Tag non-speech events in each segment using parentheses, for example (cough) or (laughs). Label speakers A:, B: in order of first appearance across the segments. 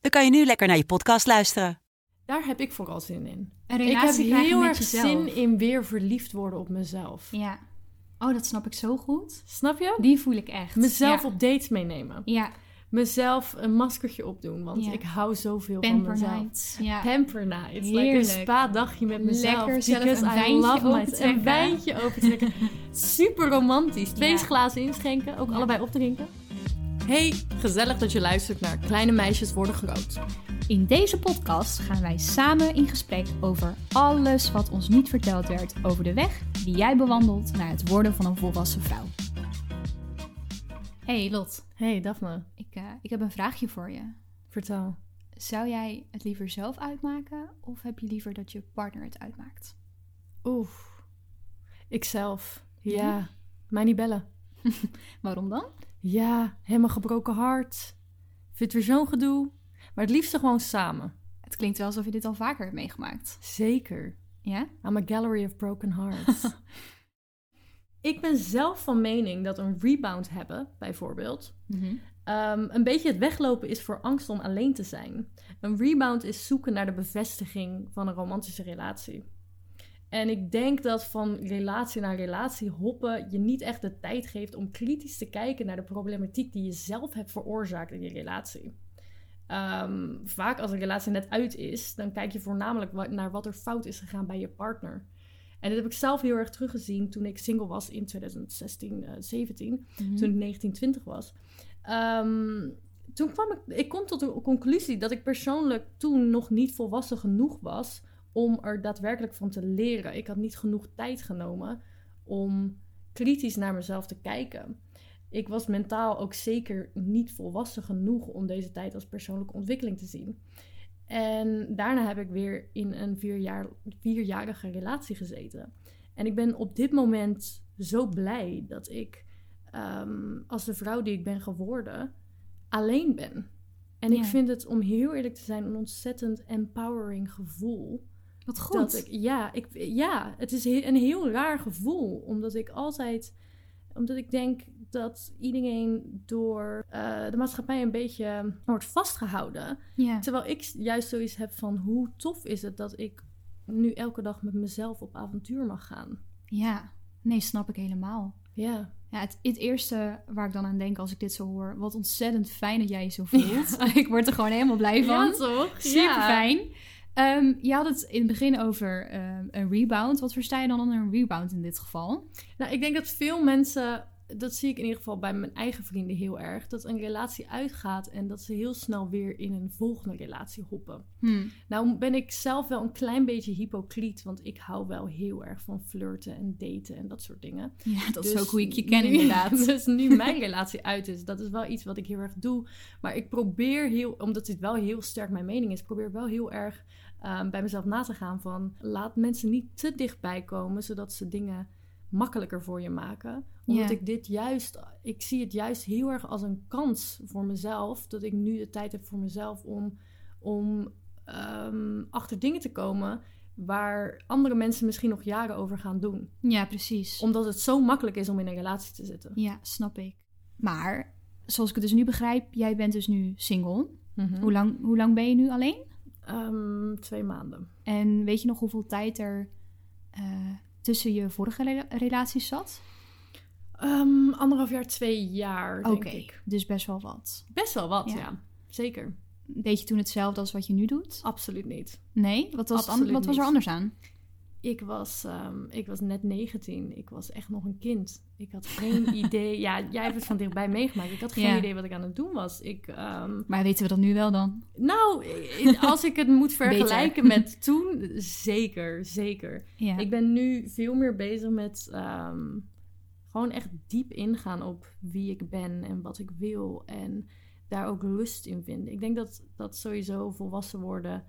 A: dan kan je nu lekker naar je podcast luisteren.
B: Daar heb ik vooral zin in.
C: Een
B: Ik heb
C: relatie krijgen
B: heel
C: met
B: erg
C: jezelf.
B: zin in weer verliefd worden op mezelf.
C: Ja. Oh, dat snap ik zo goed.
B: Snap je?
C: Die voel ik echt.
B: Mezelf
C: ja.
B: op dates meenemen.
C: Ja,
B: Mezelf een maskertje opdoen, want
C: Ja.
B: ik hou zoveel
C: pamper
B: van mezelf.
C: nights. Ja.
B: Pamper night. Like een
C: Heerlijk.
B: spa dagje met mezelf.
C: Lekker zelf
B: because
C: een
B: I
C: wijntje
B: love my- Een
C: opentrekken.
B: wijntje
C: (laughs)
B: opentrekken. Super romantisch. Twee
C: Ja.
B: glazen inschenken, ook
C: Ja.
B: allebei opdrinken. Hey, gezellig dat je luistert naar Kleine Meisjes Worden Groot.
C: In deze podcast gaan wij samen in gesprek over alles wat ons niet verteld werd over de weg die jij bewandelt naar het worden van een volwassen vrouw. Hey Lot,
B: Hey Daphne,
C: ik, eh, ik heb een vraagje voor je.
B: vertel.
C: Zou jij het liever zelf uitmaken of heb je liever dat je partner het uitmaakt?
B: Oeh, ikzelf. Ja, mij niet bellen.
C: Waarom dan?
B: Ja, helemaal gebroken hart. Vindt weer zo'n gedoe. Maar het liefste gewoon samen.
C: Het klinkt wel alsof je dit al vaker hebt meegemaakt.
B: Zeker.
C: Ja?
B: I'm a gallery of broken hearts. ik ben zelf van mening dat een rebound hebben, bijvoorbeeld, ehm, een beetje het weglopen is voor angst om alleen te zijn. Een rebound is zoeken naar de bevestiging van een romantische relatie. En ik denk dat van relatie naar relatie hoppen je niet echt de tijd geeft om kritisch te kijken naar de problematiek die je zelf hebt veroorzaakt in je relatie. Ehm, vaak als een relatie net uit is, dan kijk je voornamelijk wa- naar wat er fout is gegaan bij je partner. En dat heb ik zelf heel erg teruggezien toen ik single was in 2016, eh 17,
C: Mhm.
B: toen ik 19, 20 was. Ehm, toen kwam ik, ik kom tot de conclusie dat ik persoonlijk toen nog niet volwassen genoeg was om er daadwerkelijk van te leren. Ik had niet genoeg tijd genomen om kritisch naar mezelf te kijken. Ik was mentaal ook zeker niet volwassen genoeg om deze tijd als persoonlijke ontwikkeling te zien. En daarna heb ik weer in een vierjaar, vierjarige relatie gezeten. En ik ben op dit moment zo blij dat ik, ehm, als de vrouw die ik ben geworden, alleen ben. En
C: Ja.
B: ik vind het, om heel eerlijk te zijn, een ontzettend empowering gevoel.
C: Wat goed.
B: Dat ik, ja, ik, ja, het is he- een heel raar gevoel. Omdat ik altijd. Omdat ik denk dat iedereen door eh, de maatschappij een beetje wordt vastgehouden.
C: Ja.
B: Terwijl ik juist zoiets heb van hoe tof is het dat ik nu elke dag met mezelf op avontuur mag gaan.
C: ja, nee, snap ik helemaal.
B: Ja.
C: Ja, het, het eerste waar ik dan aan denk als ik dit zo hoor, wat ontzettend fijn dat jij je
B: (laughs)
C: zo voelt. (laughs) ik word er gewoon helemaal blij van.
B: toch?
C: Super fijn. Ehm, je had het in het begin over ehm, een rebound. Wat versta je dan onder een rebound in dit geval?
B: Nou, ik denk dat veel mensen, dat zie ik in ieder geval bij mijn eigen vrienden heel erg, dat een relatie uitgaat en dat ze heel snel weer in een volgende relatie hoppen.
C: Hm.
B: Nou ben ik zelf wel een klein beetje hypocriet, want ik hou wel heel erg van flirten en daten en dat soort dingen.
C: Ja, dat is
B: Dus
C: ook hoe ik je ken
B: (laughs) nu-
C: inderdaad.
B: Dus nu
C: (laughs)
B: mijn relatie uit is, dat is wel iets wat ik heel erg doe. Maar ik probeer heel, omdat dit wel heel sterk mijn mening is, probeer wel heel erg ehm, bij mezelf na te gaan van laat mensen niet te dichtbij komen, zodat ze dingen makkelijker voor je maken. Omdat
C: Ja.
B: ik dit juist, ik zie het juist heel erg als een kans voor mezelf, dat ik nu de tijd heb voor mezelf om, om ehm, achter dingen te komen waar andere mensen misschien nog jaren over gaan doen
C: Ja, precies.
B: omdat het zo makkelijk is om in een relatie te zitten.
C: Ja, snap ik. Maar, zoals ik het dus nu begrijp, jij bent dus nu single.
B: Hm.
C: Hoe, lang, hoe lang ben je nu alleen?
B: Ehm, twee maanden.
C: En weet je nog hoeveel tijd er eh, tussen je vorige rela- relaties zat?
B: Ehm, anderhalf jaar, twee jaar, denk ik.
C: dus best wel wat.
B: Best wel wat, ja.
C: Ja.
B: Zeker.
C: Deed je toen hetzelfde als wat je nu doet?
B: Absoluut niet.
C: Nee? Wat was, het an-
B: Absoluut
C: wat was
B: niet.
C: er anders aan?
B: Ik was, ehm, ik was net 19. Ik was echt nog een kind. Ik had geen idee. Ja, jij hebt het van dichtbij meegemaakt. Ik had geen
C: Ja.
B: idee wat ik aan het doen was. Ik, ehm,
C: Maar weten we dat nu wel dan?
B: nou, i- als ik het moet vergelijken met toen, zeker, zeker.
C: Ja.
B: Ik ben nu veel meer bezig met ehm, gewoon echt diep ingaan op wie ik ben en wat ik wil. En daar ook rust in vinden. Ik denk dat, dat sowieso volwassen worden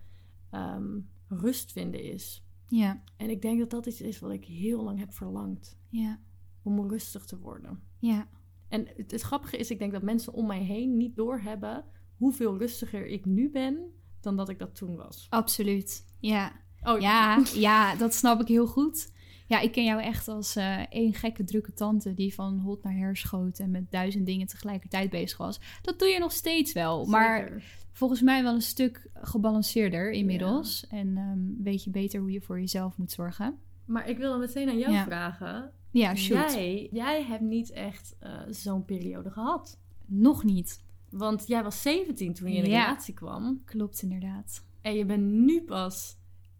B: ehm, rust vinden is.
C: Ja,
B: En ik denk dat dat iets is wat ik heel lang heb verlangd.
C: ja,
B: Om rustig te worden.
C: ja.
B: En het, het grappige is, ik denk dat mensen om mij heen niet doorhebben hoeveel rustiger ik nu ben dan dat ik dat toen was.
C: Absoluut. Ja.
B: Oh (laughs)
C: Ja, ja, dat snap ik heel goed. Ja, ik ken jou echt als eh, één gekke drukke tante die van hot naar her schoot en met duizend dingen tegelijkertijd bezig was. Dat doe je nog steeds wel, maar
B: Zeker.
C: volgens mij wel een stuk gebalanceerder inmiddels. En ehm weet je beter hoe je voor jezelf moet zorgen.
B: Maar ik wil dan meteen aan jou
C: Ja.
B: vragen.
C: Ja, shoot.
B: Jij, jij hebt niet echt eh, zo'n periode gehad.
C: Nog niet.
B: Want jij was 17 toen je in een
C: Ja.
B: relatie kwam.
C: Klopt inderdaad.
B: En je bent nu pas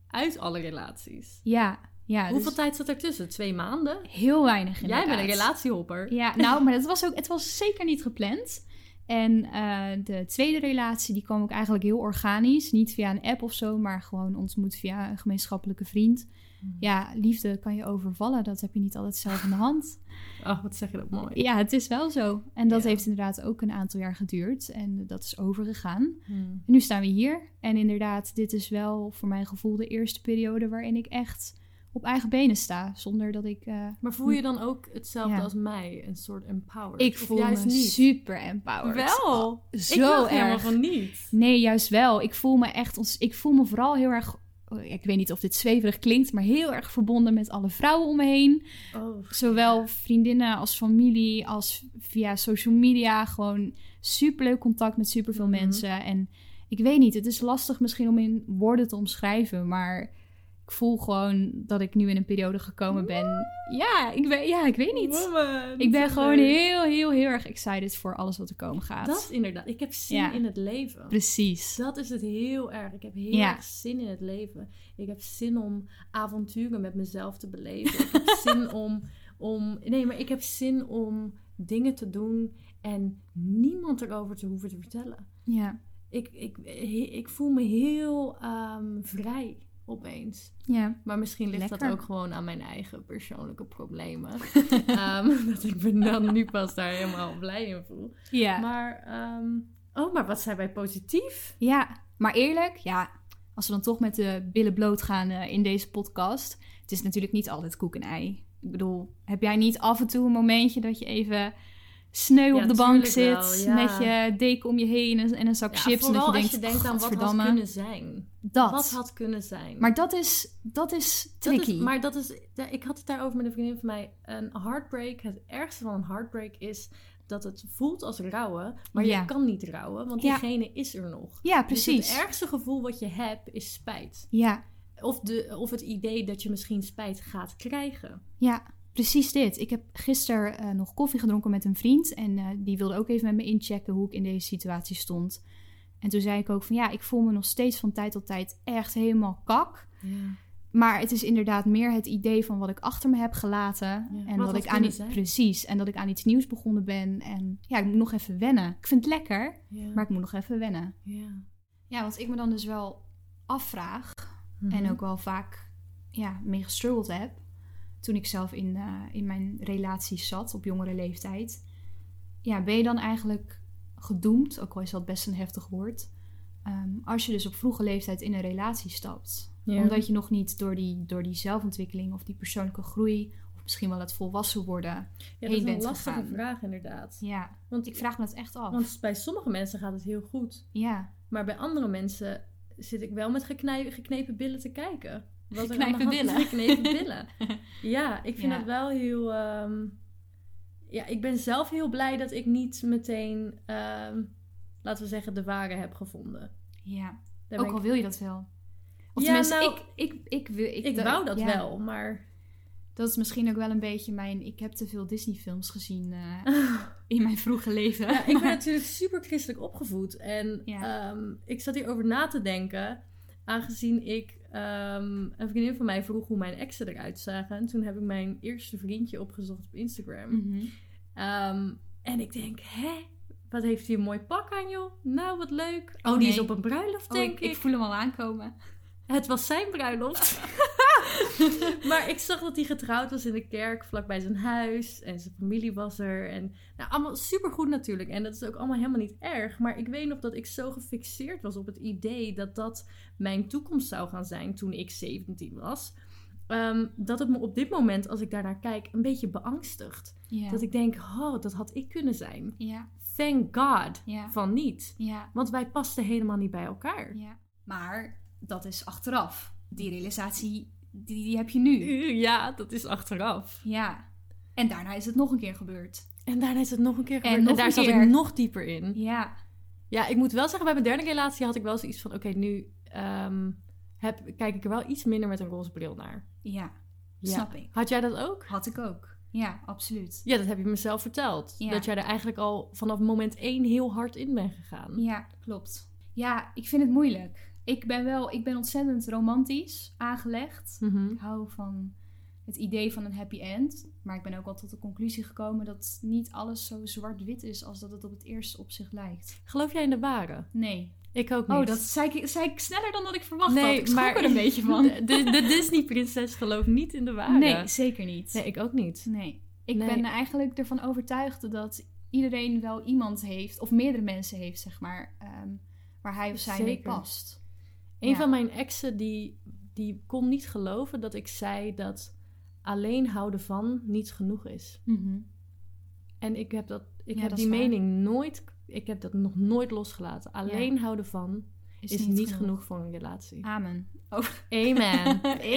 B: uit alle relaties.
C: Ja, ja.
B: Hoeveel
C: dus
B: tijd zat ertussen? Twee maanden?
C: Heel weinig inderdaad.
B: Jij bent een relatiehopper.
C: Ja, nou, maar dat was ook, het was zeker niet gepland. En eh, de tweede relatie, die kwam ook eigenlijk heel organisch. Niet via een app of zo, maar gewoon ontmoet via een gemeenschappelijke vriend.
B: Hmm.
C: Ja, liefde kan je overvallen. Dat heb je niet altijd zelf in de hand.
B: Oh, wat zeg je dat mooi.
C: Ja, het is wel zo. En dat
B: Ja.
C: heeft inderdaad ook een aantal jaar geduurd. En dat is overgegaan.
B: Hmm.
C: En nu staan we hier. En inderdaad, dit is wel voor mijn gevoel de eerste periode waarin ik echt op eigen benen sta. Zonder dat ik eh,
B: Maar voel je dan ook hetzelfde
C: Ja.
B: als mij? Een soort empowered?
C: Ik
B: Of
C: voel
B: juist
C: me
B: niet?
C: super empowered.
B: Wel.
C: Zo
B: ik dacht helemaal
C: erg.
B: van niet.
C: Nee, juist wel. Ik voel me echt. Ons, ik voel me vooral heel erg. oh, Ik weet niet of dit zweverig klinkt, maar heel erg verbonden met alle vrouwen om me heen.
B: Oh.
C: Zowel vriendinnen als familie, als via social media. Gewoon superleuk contact met superveel
B: Mhm.
C: mensen. En ik weet niet, het is lastig misschien om in woorden te omschrijven, maar ik voel gewoon dat ik nu in een periode gekomen ben. Ja, ik, weet, ja, ik weet niet. Ik ben gewoon heel, heel, heel erg excited voor alles wat er komen gaat.
B: Dat inderdaad. Ik heb zin
C: Ja.
B: in het leven.
C: Precies.
B: Dat is het heel erg. Ik heb heel
C: Ja.
B: erg zin in het leven. Ik heb zin om avonturen met mezelf te beleven. Ik
C: (laughs)
B: heb zin om, om... Nee, maar ik heb zin om dingen te doen en niemand erover te hoeven te vertellen.
C: Ja,
B: Ik, ik, ik voel me heel ehm, vrij opeens.
C: ja,
B: Maar misschien ligt dat
C: Lekker.
B: ook gewoon aan mijn eigen persoonlijke
C: (laughs)
B: problemen. Ehm, dat ik me dan nu pas daar helemaal blij in voel.
C: ja. Maar,
B: Maar, ehm, oh, maar wat zijn wij positief?
C: ja. maar eerlijk, ja, als we dan toch met de billen bloot gaan eh, in deze podcast. Het is natuurlijk niet altijd koek en ei. Ik bedoel, heb jij niet af en toe een momentje dat je even sneu
B: Ja,
C: op de bank zit
B: tuurlijk wel, ja.
C: met je deken om je heen en, en een zak chips en dat je
B: vooral
C: denkt,
B: als je denkt aan wat had
C: "Gadverdamme,
B: kunnen zijn.
C: dat.
B: Wat had kunnen zijn.
C: Maar dat is, dat is
B: Dat is-
C: tricky.
B: maar dat is, da- ik had het daarover met een vriendin van mij. Een heartbreak, het ergste van een heartbreak is dat het voelt als rouwen. Maar
C: Ja.
B: je kan niet rouwen, want
C: Ja.
B: diegene is er nog.
C: ja,
B: Dus
C: precies.
B: het ergste gevoel wat je hebt is spijt.
C: Ja,
B: Of, de, of het idee dat je misschien spijt gaat krijgen.
C: Ja, precies dit. Ik heb gisteren eh, nog koffie gedronken met een vriend. En eh, die wilde ook even met me inchecken hoe ik in deze situatie stond. En toen zei ik ook van ja, ik voel me nog steeds van tijd tot tijd echt helemaal kak.
B: Ja.
C: Maar het is inderdaad meer het idee van wat ik achter me heb gelaten. en
B: Wat
C: dat
B: had
C: ik aan
B: kunnen
C: iets,
B: zijn.
C: precies. En dat ik aan iets nieuws begonnen ben. En ja, ik moet nog even wennen. Ik vind het lekker, maar ik moet nog even wennen. Ja, wat ik me dan dus wel afvraag,
B: Mhm.
C: en ook wel vaak ja, mee gestruggeld heb. Toen ik zelf in, eh, in mijn relaties zat op jongere leeftijd. Ja, ben je dan eigenlijk gedoemd, ook al is dat best een heftig woord. ehm, als je dus op vroege leeftijd in een relatie stapt.
B: Ja.
C: Omdat je nog niet door die, door die zelfontwikkeling of die persoonlijke groei. of misschien wel het volwassen worden.
B: Ja,
C: heen
B: dat is een
C: bent
B: lastige
C: gegaan.
B: vraag inderdaad.
C: Ja,
B: Want,
C: ik vraag me dat echt af.
B: want bij sommige mensen gaat het heel goed. (laughs)
C: ja,
B: Maar bij andere mensen zit ik wel met geknij- geknepen billen te kijken. Wat er aan de
C: Geknepen
B: hand is.
C: billen.
B: Geknepen billen. Ja, ik vind
C: Ja.
B: het wel heel... ehm, Ja, ik ben zelf heel blij dat ik niet meteen, ehm, laten we zeggen, de ware heb gevonden.
C: ja.
B: Daar ben
C: ook
B: ik-
C: al wil je dat wel. Of
B: Ja,
C: tenminste,
B: nou,
C: ik, ik, ik, wil- ik,
B: ik, wou dat
C: ja.
B: wel, maar...
C: Dat is misschien ook wel een beetje mijn. Ik heb te veel Disney-films gezien eh, in mijn vroege leven.
B: Ja,
C: (laughs)
B: ik ben
C: Maar-
B: natuurlijk super christelijk opgevoed. En
C: Ja.
B: ehm, ik zat hierover na te denken. Aangezien ik ehm, een vriendin van mij vroeg hoe mijn exen eruit zagen. En toen heb ik mijn eerste vriendje opgezocht op Instagram.
C: Mhm.
B: Ehm, en ik denk, hè? Wat heeft hij een mooi pak aan, joh? Nou, wat leuk. Oh,
C: Oh,
B: die
C: nee.
B: is op een bruiloft,
C: Oh,
B: denk
C: (laughs) ik, ik voel hem al aankomen. (laughs)
B: Het was zijn bruiloft. maar ik zag dat hij getrouwd was in de kerk vlakbij zijn huis. En zijn familie was er. En nou, allemaal supergoed natuurlijk. En dat is ook allemaal helemaal niet erg. Maar ik weet nog dat ik zo gefixeerd was op het idee dat dat mijn toekomst zou gaan zijn toen ik 17 was. ehm, dat het me op dit moment, als ik daarnaar kijk, een beetje beangstigt.
C: Ja.
B: Dat ik denk, oh, dat had ik kunnen zijn.
C: ja,
B: Thank God
C: Ja.
B: van niet.
C: ja,
B: Want wij pasten helemaal niet bij elkaar.
C: ja. Maar dat is achteraf. Die realisatie, die, die heb je nu.
B: Ja, dat is achteraf.
C: Ja. En daarna is het nog een keer gebeurd.
B: En daarna is het nog een keer gebeurd. En,
C: nog
B: daar
C: een
B: zat ik
C: keer.
B: nog dieper in.
C: Ja.
B: Ja, ik moet wel zeggen, bij mijn derde relatie had ik wel zoiets van... Oké, nu ehm, heb, kijk ik er wel iets minder met een roze bril naar.
C: Ja,
B: Ja.
C: snap ik.
B: Had jij dat ook?
C: Had ik ook. Ja, absoluut.
B: Ja, dat heb je mezelf verteld.
C: Ja.
B: Dat jij er eigenlijk al vanaf moment één heel hard in bent gegaan.
C: Ja, klopt. Ja, ik vind het moeilijk. Ik ben wel, ik ben ontzettend romantisch aangelegd.
B: Mhm.
C: Ik hou van het idee van een happy end. Maar ik ben ook al tot de conclusie gekomen dat niet alles zo zwart-wit is als dat het op het eerste opzicht lijkt.
B: Geloof jij in de ware?
C: Nee.
B: Ik ook niet.
C: Oh, dat zei ik, zei ik sneller dan dat ik verwacht
B: nee,
C: had. Ik schrok
B: maar (laughs)
C: er een beetje van.
B: De, de Disney-prinses gelooft niet in de ware.
C: Nee, zeker niet.
B: Nee, ik ook niet.
C: Nee. Ik
B: Nee.
C: ben eigenlijk ervan overtuigd dat iedereen wel iemand heeft, of meerdere mensen heeft, zeg maar, ehm, waar hij of zij mee
B: Zeker.
C: past.
B: Een
C: Ja.
B: van mijn exen die, die kon niet geloven dat ik zei dat alleen houden van niet genoeg is.
C: Mhm.
B: En ik heb, dat, ik
C: Ja,
B: heb
C: dat is
B: die
C: waar.
B: mening nooit, ik heb dat nog nooit losgelaten. Alleen houden van is, niet, genoeg. voor een relatie.
C: Amen. (laughs)
B: Amen. Amen.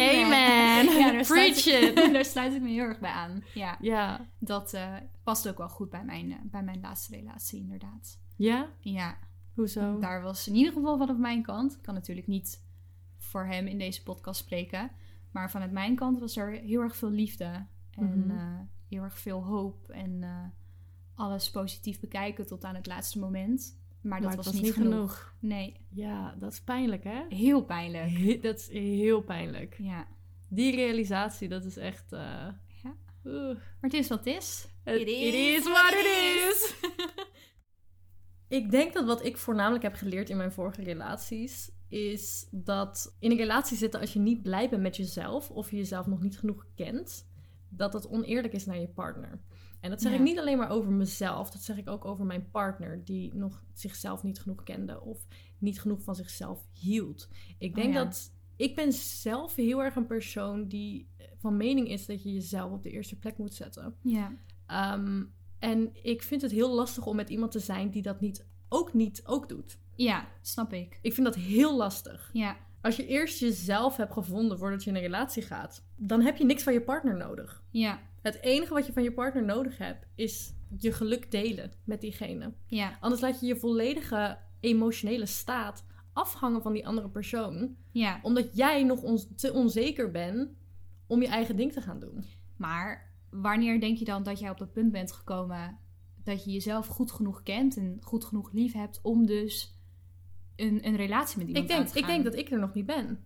C: Ja,
B: Preach
C: daar sluit ik-
B: it.
C: (laughs) daar sluit ik me heel erg bij aan. Ja,
B: Ja.
C: dat eh, past ook wel goed bij mijn, eh, bij mijn laatste relatie, inderdaad.
B: Ja?
C: Ja,
B: Hoezo?
C: daar was in ieder geval vanaf mijn kant. Ik kan natuurlijk niet voor hem in deze podcast spreken. Maar vanuit mijn kant was er heel erg veel liefde. En
B: Mhm.
C: eh, heel erg veel hoop. En eh, alles positief bekijken tot aan het laatste moment. Maar dat
B: Maar het
C: was, niet, genoeg. Nee,
B: Ja, dat is pijnlijk hè?
C: heel pijnlijk.
B: He- (laughs) Dat is heel pijnlijk.
C: Ja.
B: Die realisatie, dat is echt... eh,
C: Ja.
B: oeh.
C: Maar het is wat het is.
B: It, is what it is. ik denk dat wat ik voornamelijk heb geleerd in mijn vorige relaties is dat in een relatie zitten als je niet blij bent met jezelf of je jezelf nog niet genoeg kent, dat dat oneerlijk is naar je partner. En dat zeg
C: Ja.
B: ik niet alleen maar over mezelf, dat zeg ik ook over mijn partner die nog zichzelf niet genoeg kende of niet genoeg van zichzelf hield. Ik
C: Oh
B: denk
C: ja.
B: dat ik ben zelf heel erg een persoon die van mening is dat je jezelf op de eerste plek moet zetten.
C: (laughs) Ja.
B: Ehm, en ik vind het heel lastig om met iemand te zijn die dat niet, ook niet ook doet.
C: ja, snap ik.
B: Ik vind dat heel lastig.
C: Ja,
B: Als je eerst jezelf hebt gevonden voordat je in een relatie gaat, dan heb je niks van je partner nodig.
C: ja,
B: Het enige wat je van je partner nodig hebt, is je geluk delen met diegene.
C: ja,
B: Anders laat je je volledige emotionele staat afhangen van die andere persoon,
C: ja.
B: omdat jij nog on- te onzeker bent om je eigen ding te gaan doen.
C: Maar wanneer denk je dan dat jij op dat punt bent gekomen dat je jezelf goed genoeg kent en goed genoeg lief hebt om dus een, een relatie met
B: Ik
C: iemand aan
B: denk,
C: te gaan?
B: ik denk dat ik er nog niet ben.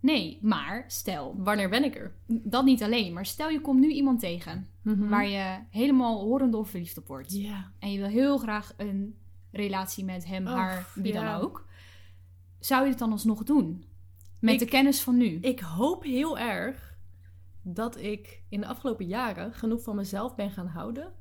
C: Nee, maar stel,
B: Wanneer ben ik er?
C: dat niet alleen, maar stel je komt nu iemand tegen
B: Mhm.
C: waar je helemaal horend of verliefd op wordt.
B: Ja.
C: En je wil heel graag een relatie met hem,
B: Och,
C: haar, wie
B: ja.
C: dan ook. Zou je het dan alsnog doen? Met
B: Ik-
C: de kennis van nu?
B: Ik hoop heel erg dat ik in de afgelopen jaren genoeg van mezelf ben gaan houden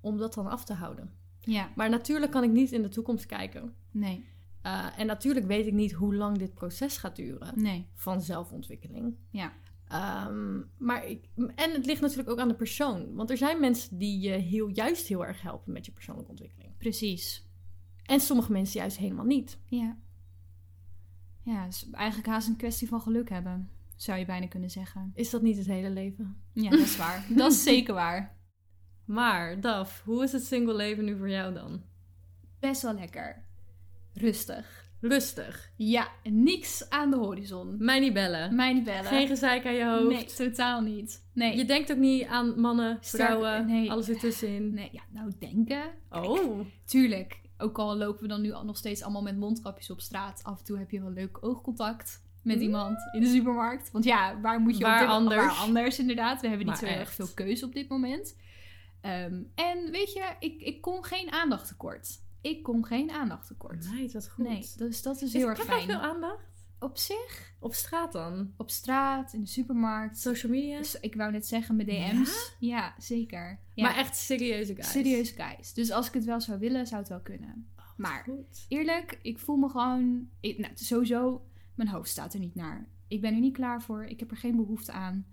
B: om dat dan af te houden.
C: Ja,
B: Maar natuurlijk kan ik niet in de toekomst kijken.
C: nee,
B: Eh, en natuurlijk weet ik niet hoe lang dit proces gaat duren
C: nee,
B: van zelfontwikkeling.
C: ja,
B: Ehm, maar ik, en het ligt natuurlijk ook aan de persoon. Want er zijn mensen die je heel, juist heel erg helpen met je persoonlijke ontwikkeling.
C: precies.
B: En sommige mensen juist helemaal niet.
C: Ja. Ja, het is eigenlijk haast een kwestie van geluk hebben, zou je bijna kunnen zeggen.
B: Is dat niet het hele leven?
C: Ja, dat is waar.
B: (laughs)
C: dat is zeker waar.
B: Maar, Daf, hoe is het single leven nu voor jou dan?
C: Best wel lekker. Rustig.
B: Rustig.
C: Ja, niks aan de horizon.
B: Mij niet bellen.
C: Mij niet bellen.
B: Geen gezeik aan je hoofd.
C: nee, totaal niet. Nee.
B: Je denkt ook niet aan mannen,
C: Sterk-
B: vrouwen,
C: nee.
B: alles ertussenin.
C: nee, ja, nou denken.
B: Oh.
C: Tuurlijk. Ook al lopen we dan nu al nog steeds allemaal met mondkapjes op straat. Af en toe heb je wel leuk oogcontact met
B: Mm.
C: iemand in de supermarkt. Want ja, waar moet je op
B: Waar
C: dit-
B: anders?
C: Waar anders inderdaad. We hebben niet
B: Maar
C: zo heel erg
B: echt.
C: veel keuze op dit moment. Ehm, en weet je, ik, ik kon geen aandacht tekort. Ik kon geen aandacht tekort.
B: Meid, wat Nou, goed.
C: Nee, dus dat is
B: Is-
C: heel erg
B: Krijg jij
C: fijn.
B: veel aandacht?
C: Op zich?
B: nou Op straat dan?
C: Op straat, in de supermarkt.
B: Social media?
C: Dus ik wou net zeggen, mijn DM's. Ja, zeker. Ja.
B: Maar echt serieuze guys.
C: Serieus, guys. Dus als ik het wel zou willen, zou het wel kunnen.
B: Oh,
C: Maar
B: Goed.
C: eerlijk, ik voel me gewoon... Ik, nou, sowieso, mijn hoofd staat er niet naar. Ik ben er niet klaar voor. Ik heb er geen behoefte aan.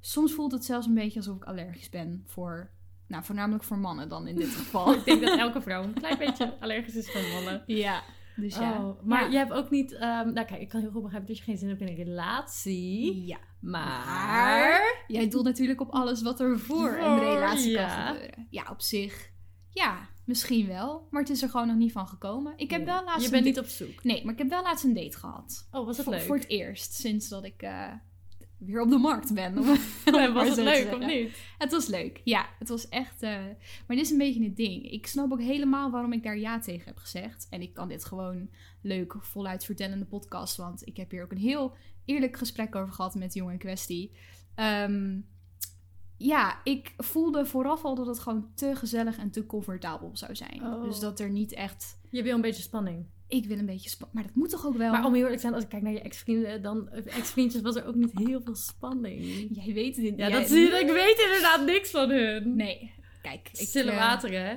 C: Soms voelt het zelfs een beetje alsof ik allergisch ben voor... Nou, voornamelijk voor mannen dan in dit geval.
B: Ik (laughs) denk dat elke vrouw een klein beetje (laughs) allergisch is voor mannen.
C: Ja, dus ja.
B: Oh, maar
C: Ja.
B: je hebt ook niet... ehm, nou kijk, ik kan heel goed begrijpen dat je geen zin hebt in een relatie.
C: Ja.
B: Maar...
C: Jij doelt natuurlijk op alles wat er voor
B: Voor,
C: een relatie
B: Oh, ja.
C: kan gebeuren. Ja, op zich. Ja, misschien wel. Maar het is er gewoon nog niet van gekomen. Ik heb wel laatst
B: Je bent
C: een
B: niet
C: da-
B: op zoek.
C: Nee, maar ik heb wel laatst een date gehad.
B: Oh, was het (laughs)
C: voor,
B: leuk?
C: voor het eerst sinds dat ik eh, weer op de markt
B: (laughs)
C: ben. Om,
B: En was
C: maar
B: het
C: zo te
B: leuk
C: zeggen.
B: of niet?
C: Het was leuk. Ja, het was echt. eh, Maar dit is een beetje het ding. Ik snap ook helemaal waarom ik daar ja tegen heb gezegd. En ik kan dit gewoon leuk voluit vertellen in de podcast. Want ik heb hier ook een heel eerlijk gesprek over gehad met de jongen in kwestie. Ehm, ja, ik voelde vooraf al dat het gewoon te gezellig en te comfortabel zou zijn.
B: Oh.
C: Dus dat er niet echt.
B: Je wil een beetje spanning.
C: Ik wil een beetje. spa- Maar dat moet toch ook wel.
B: Maar om heel eerlijk te zijn, als ik kijk naar je ex-vrienden, dan eh, ex-vriendjes was er ook niet heel veel spanning.
C: Jij weet dit.
B: Ja,
C: jij-
B: dat zie je. Ik weet inderdaad niks van hun.
C: Nee. Kijk, ik,
B: Stille
C: eh,
B: wateren, hè?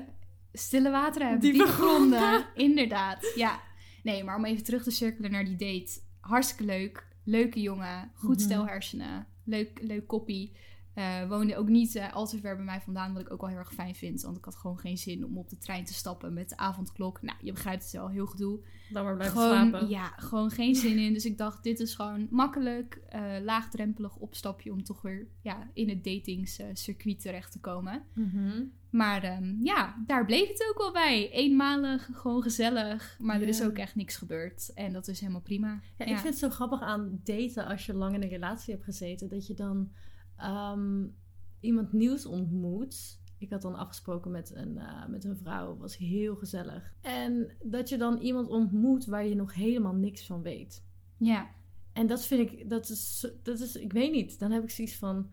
C: Stille wateren hebben,
B: Diepe
C: diepe, gronden.
B: (laughs)
C: Inderdaad, ja. Nee, maar om even terug te cirkelen naar die date. Hartstikke leuk. Leuke jongen. Goed
B: Mhm.
C: stel hersenen. Leuk, leuk koppie. Eh, woonde ook niet eh, al te ver bij mij vandaan, wat ik ook wel heel erg fijn vind. Want ik had gewoon geen zin om op de trein te stappen met de avondklok. Nou, je begrijpt het wel, heel gedoe.
B: Dan maar blijven
C: gewoon,
B: slapen.
C: Ja, gewoon geen zin in. Dus ik dacht, dit is gewoon makkelijk, eh, laagdrempelig opstapje om toch weer ja, in het datingscircuit eh, terecht te komen.
B: Mhm.
C: Maar ehm, ja, daar bleef het ook wel bij. Eenmalig, gewoon gezellig. Maar er is
B: Ja.
C: ook echt niks gebeurd. En dat is helemaal prima.
B: Ja,
C: Ja.
B: Ik vind het zo grappig aan daten als je lang in een relatie hebt gezeten. Dat je dan ehm, iemand nieuws ontmoet. Ik had dan afgesproken met een, eh, met een vrouw. was heel gezellig. En dat je dan iemand ontmoet waar je nog helemaal niks van weet.
C: Ja,
B: En dat vind ik, dat is, zo- dat is, ik weet niet. Dan heb ik zoiets van,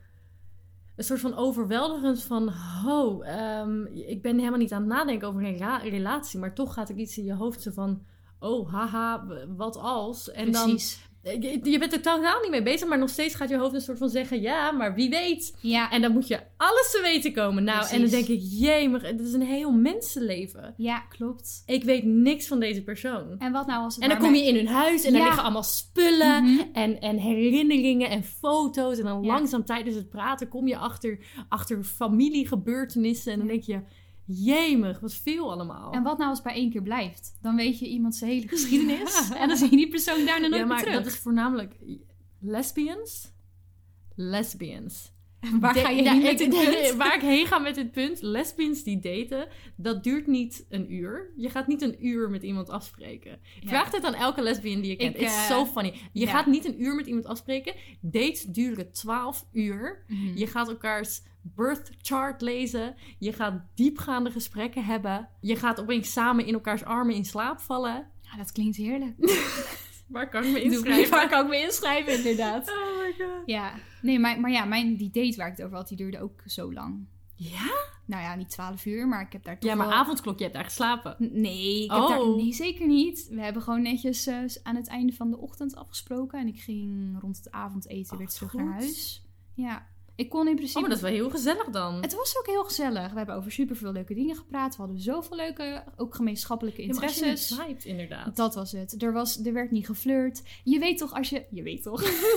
B: een soort van overweldigend van, ho, ehm, ik ben helemaal niet aan het nadenken over een ra- relatie, maar toch gaat er iets in je hoofd zo van, oh, haha, w- wat als? En
C: precies.
B: dan, je, je bent er totaal niet mee bezig, maar nog steeds gaat je hoofd een soort van zeggen, ja, maar wie weet.
C: Ja,
B: En dan moet je alles te weten komen. Nou, en dan
C: Precies.
B: denk ik, jemig, dit is een heel mensenleven.
C: ja, klopt.
B: Ik weet niks van deze persoon.
C: En wat nou als het
B: En dan
C: maar
B: kom je in hun huis en daar
C: Ja.
B: liggen allemaal spullen
C: Mhm.
B: en, en herinneringen en foto's. En dan
C: Ja.
B: langzaam tijdens het praten kom je achter, achter familiegebeurtenissen. En dan denk je, jemig, wat veel allemaal.
C: En wat nou als het bij één keer blijft? Dan weet je
B: (laughs)
C: iemands hele geschiedenis. En dan zie je die persoon daarna nooit
B: ja, maar
C: meer terug.
B: dat is voornamelijk lesbians. Lesbians.
C: Waar ga je
B: Da- (laughs)
C: heen
B: da-
C: met dit (laughs)
B: ik-
C: punt?
B: Waar ik heen ga met dit punt. Lesbians die daten, dat duurt niet een uur. Je gaat niet een uur met iemand afspreken.
C: Ja.
B: Vraag dit aan elke lesbian die je kent.
C: Ik,
B: It's
C: eh,
B: so funny. Je
C: ja.
B: gaat niet een uur met iemand afspreken. Dates duren 12 uur.
C: Mhm.
B: Je gaat elkaars birth chart lezen. Je gaat diepgaande gesprekken hebben. Je gaat opeens samen in elkaars armen in slaap vallen.
C: Ja, dat klinkt heerlijk.
B: Waar kan ik me (laughs)
C: Doe- Waar kan ik me inschrijven, (laughs) inderdaad.
B: Oh my god.
C: Ja, nee, maar, maar ja, mijn, die date waar ik het over had, die duurde ook zo lang.
B: Ja?
C: Nou ja, niet 12 uur, maar ik heb daar toch
B: Ja, maar
C: wel...
B: avondklok, je hebt daar geslapen.
C: Oh. N- Nee, ik heb
B: Oh.
C: daar, nee, zeker niet. We hebben gewoon netjes eh, s- aan het einde van de ochtend afgesproken. En ik ging rond het avondeten
B: Oh,
C: weer
B: wat
C: terug
B: goed.
C: naar huis. Ja, ik kon in principe...
B: Oh, maar dat is wel heel gezellig dan.
C: Het was ook heel gezellig. We hebben over superveel leuke dingen gepraat. We hadden zoveel leuke, ook gemeenschappelijke
B: Ja, maar als je
C: interesses.
B: het vibet, inderdaad.
C: dat was het. Er, was, er werd niet geflirt. Je weet toch als je... Je weet toch?
B: (laughs)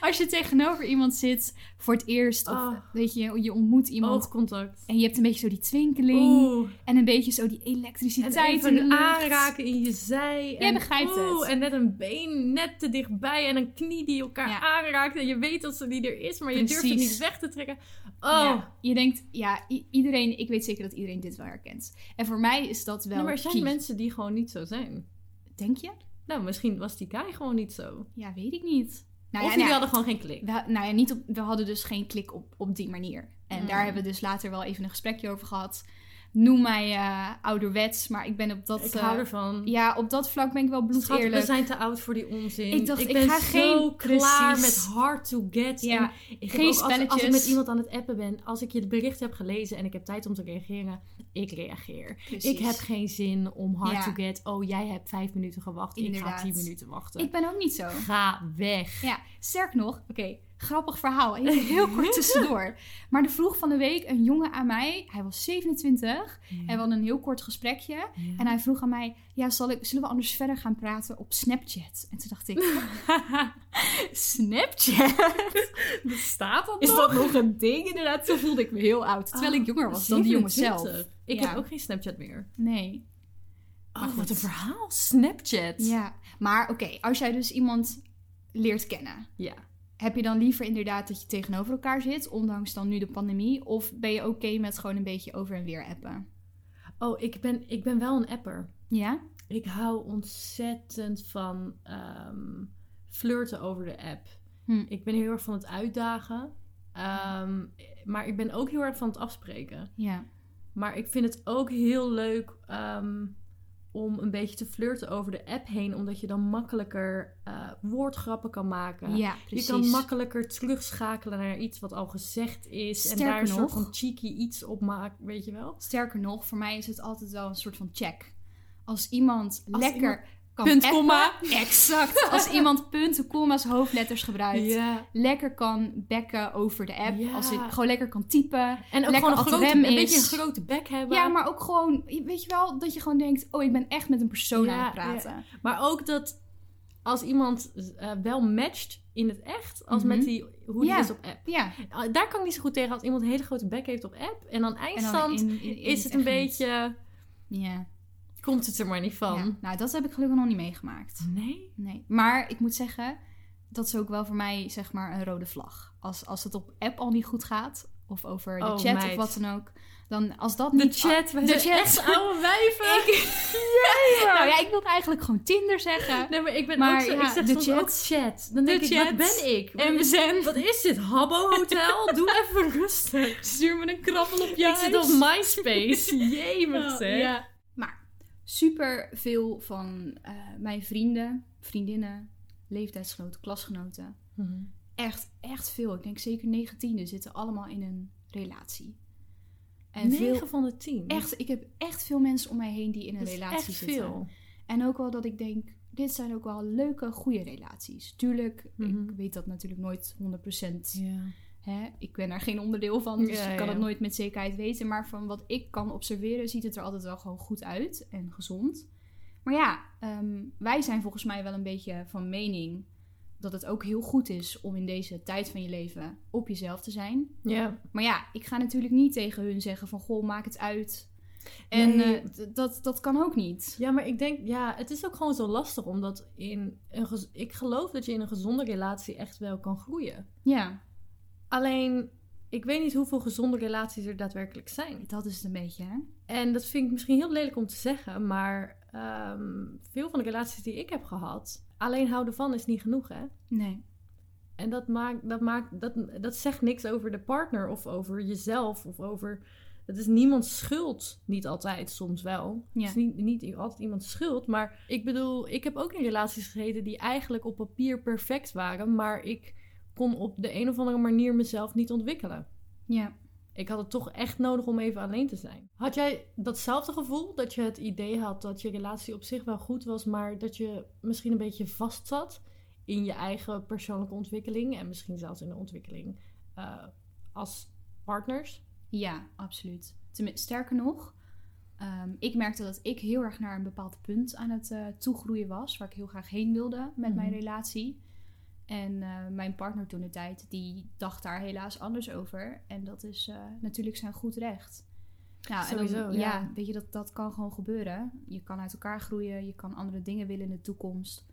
C: als je tegenover iemand zit voor het eerst. Of
B: Oh.
C: weet je, je ontmoet iemand.
B: Oogcontact.
C: En je hebt een beetje zo die twinkeling.
B: Oh. Oeh.
C: En een beetje zo die
B: En
C: elektriciteit in de
B: even
C: lucht.
B: aanraken in je zij.
C: Jij begrijpt het.
B: oeh, En net een been net te dichtbij en een knie die elkaar
C: Ja.
B: aanraakt. En je weet dat ze die er is, maar je durft het
C: Precies.
B: niet weg te trekken. Oh,
C: Ja, je denkt, ja, i- iedereen, ik weet zeker dat iedereen dit wel herkent. En voor mij is dat wel.
B: Nou, maar er zijn
C: key.
B: mensen die gewoon niet zo zijn.
C: Denk je?
B: Nou, misschien was die guy gewoon niet zo.
C: Nou Ja, weet ik niet. Nou
B: of
C: ja,
B: die
C: nou ja,
B: hadden gewoon geen klik.
C: we, nou ja, niet op, we hadden dus geen klik op, op die manier. En
B: Mm.
C: daar hebben we dus later wel even een gesprekje over gehad. noem mij eh, ouderwets, maar ik ben op dat...
B: ik
C: eh,
B: hou ervan.
C: ja, op dat vlak ben ik wel
B: Schat,
C: bloedeerlijk.
B: we zijn te oud voor die onzin.
C: Ik dacht, ik
B: ben
C: ga
B: zo
C: geen-
B: klaar
C: precies.
B: met hard to get.
C: Ja,
B: En ik heb
C: geen
B: ook als- Als, ik
C: spelletjes.
B: met iemand aan het appen ben, als ik je het bericht heb gelezen en ik heb tijd om te reageren, ik reageer.
C: Precies.
B: Ik heb geen zin om hard
C: Ja.
B: to get. Oh, jij hebt vijf minuten gewacht. Ik
C: Inderdaad.
B: ga tien minuten wachten.
C: Ik ben ook niet zo.
B: Ga weg.
C: Ja, sterk nog, oké, grappig verhaal. Heel, heel
B: (laughs)
C: kort tussendoor. Maar er vroeg van de week een jongen aan mij, hij was 27, en we hadden een heel kort gesprekje. En hij vroeg aan mij, ja, zal ik, zullen we anders verder gaan praten op Snapchat? En toen
B: (laughs)
C: dacht ik, Snapchat?
B: Bestaat dat
C: Is
B: nog? Ah,
C: dat nog een ding? Inderdaad, toen voelde ik me heel oud. Terwijl ik jonger was dan die jongen zelf.
B: 27. Ik
C: Ja.
B: heb ook geen Snapchat meer.
C: Nee.
B: Oh, wat een verhaal. Snapchat.
C: Ja, maar oké, als jij dus iemand leert kennen,
B: Ja.
C: heb je dan liever inderdaad dat je tegenover elkaar zit, ondanks dan nu de pandemie? Of ben je oké met gewoon een beetje over en weer appen?
B: Oh, ik ben, ik ben wel een apper.
C: Ja?
B: Ik hou ontzettend van ehm, flirten over de app.
C: Hm.
B: Ik ben heel erg van het uitdagen. Ehm, maar ik ben ook heel erg van het afspreken.
C: Ja.
B: Maar ik vind het ook heel leuk ehm, om een beetje te flirten over de app heen. Omdat je dan makkelijker eh, woordgrappen kan maken.
C: Ja, precies.
B: Je kan makkelijker terugschakelen naar iets wat al gezegd is. en daar
C: Sterker
B: een soort
C: nog-
B: van cheeky iets op maken, weet je wel?
C: Sterker nog, voor mij is het altijd wel een soort van check. Als iemand lekker
B: iemand-
C: kan
B: Punt,
C: appen-
B: komma.
C: (laughs) Exact. Als iemand punten, komma's, hoofdletters gebruikt.
B: Ja.
C: Lekker kan bekken over de app.
B: Ja.
C: Als ik gewoon lekker kan typen.
B: En ook
C: Lekker
B: gewoon een,
C: ad
B: grote,
C: rem
B: een beetje een
C: is.
B: grote bek hebben.
C: Ja, maar ook gewoon, weet je wel, dat je gewoon denkt: oh, ik ben echt met een persoon
B: Ja,
C: aan het praten.
B: Maar ook dat als iemand eh, wel matcht in het echt, als
C: Mhm.
B: met die, hoe die
C: Ja.
B: is op app.
C: Ja.
B: Ah, Daar kan ik niet zo goed tegen als iemand een hele grote bek heeft op app. En dan
C: dan
B: eindstand
C: in- in- in
B: is het een
C: echt niet.
B: beetje,
C: Ja.
B: komt het er maar niet van.
C: Ja. Nou, dat heb ik gelukkig nog niet meegemaakt.
B: Nee?
C: Nee. Maar ik moet zeggen, dat is ook wel voor mij zeg maar een rode vlag. Als, als het op app al niet goed gaat, of over de
B: Oh,
C: chat
B: meid.
C: of wat dan ook. Dan als dat
B: De
C: niet...
B: chat, wij
C: de
B: zijn
C: chat.
B: (laughs) echt oude wijven.
C: Nou ja, ik wilde eigenlijk gewoon Tinder zeggen.
B: Nee, maar ik ben
C: Maar
B: ook zo, ik
C: ja,
B: zeg
C: de
B: soms
C: chat.
B: ook chat. Dan denk
C: De
B: ik, wat
C: chat.
B: ben ik?
C: En we zijn-
B: Wat (laughs) is dit, Habbo Hotel? Doe (laughs) even rustig.
C: Stuur me een krabbel op
B: ik zit op (laughs) MySpace. Jemig
C: Ja,
B: zeg.
C: ja. Maar super veel van eh, mijn vrienden, vriendinnen, leeftijdsgenoten, klasgenoten.
B: Mhm.
C: Echt, echt veel. Ik denk zeker 19 zitten allemaal in een relatie. En
B: Negen
C: veel,
B: van de tien.
C: echt, ik heb echt veel mensen om mij heen die in een
B: Dat is
C: relatie
B: echt
C: zitten.
B: veel.
C: En ook wel dat ik denk, dit zijn ook wel leuke, goede relaties. Tuurlijk,
B: Mhm.
C: ik weet dat natuurlijk nooit 100% hè, ik ben er geen onderdeel van, dus
B: Ja,
C: ik kan
B: ja.
C: het nooit met zekerheid weten. Maar van wat ik kan observeren, ziet het er altijd wel gewoon goed uit en gezond. Maar ja, ehm, wij zijn volgens mij wel een beetje van mening dat het ook heel goed is om in deze tijd van je leven op jezelf te zijn.
B: Ja.
C: Maar ja, ik ga natuurlijk niet tegen hun zeggen van goh, maak het uit. En
B: Nee.
C: eh, d- dat, dat kan ook niet.
B: ja, maar ik denk, ja, het is ook gewoon zo lastig omdat in een gez- ik geloof dat je in een gezonde relatie echt wel kan groeien.
C: Ja,
B: Alleen, ik weet niet hoeveel gezonde relaties er daadwerkelijk zijn.
C: dat is het een beetje hè.
B: En dat vind ik misschien heel lelijk om te zeggen, maar ehm, veel van de relaties die ik heb gehad, alleen houden van is niet genoeg, hè?
C: Nee.
B: En dat, maakt, dat, maakt, dat, dat zegt niks over de partner of over jezelf of over. Het is niemands schuld. Niet altijd, soms wel.
C: Ja.
B: Het is niet, niet i- altijd iemands schuld. Maar ik bedoel, ik heb ook in relaties gezeten die eigenlijk op papier perfect waren. Maar ik kon op de een of andere manier mezelf niet ontwikkelen.
C: Ja.
B: Ik had het toch echt nodig om even alleen te zijn. Had jij datzelfde gevoel? Dat je het idee had dat je relatie op zich wel goed was, maar dat je misschien een beetje vast zat in je eigen persoonlijke ontwikkeling en misschien zelfs in de ontwikkeling eh, als partners?
C: Ja, absoluut. Tenmin- sterker nog, ehm, ik merkte dat ik heel erg naar een bepaald punt aan het eh, toegroeien was, waar ik heel graag heen wilde met mijn
B: Mhm.
C: relatie. En eh, mijn partner toen de tijd, die dacht daar helaas anders over. En dat is eh, natuurlijk zijn goed recht. Nou, en
B: Sowieso,
C: dan,
B: ja.
C: ja. weet je, dat, dat kan gewoon gebeuren. Je kan uit elkaar groeien, je kan andere dingen willen in de toekomst.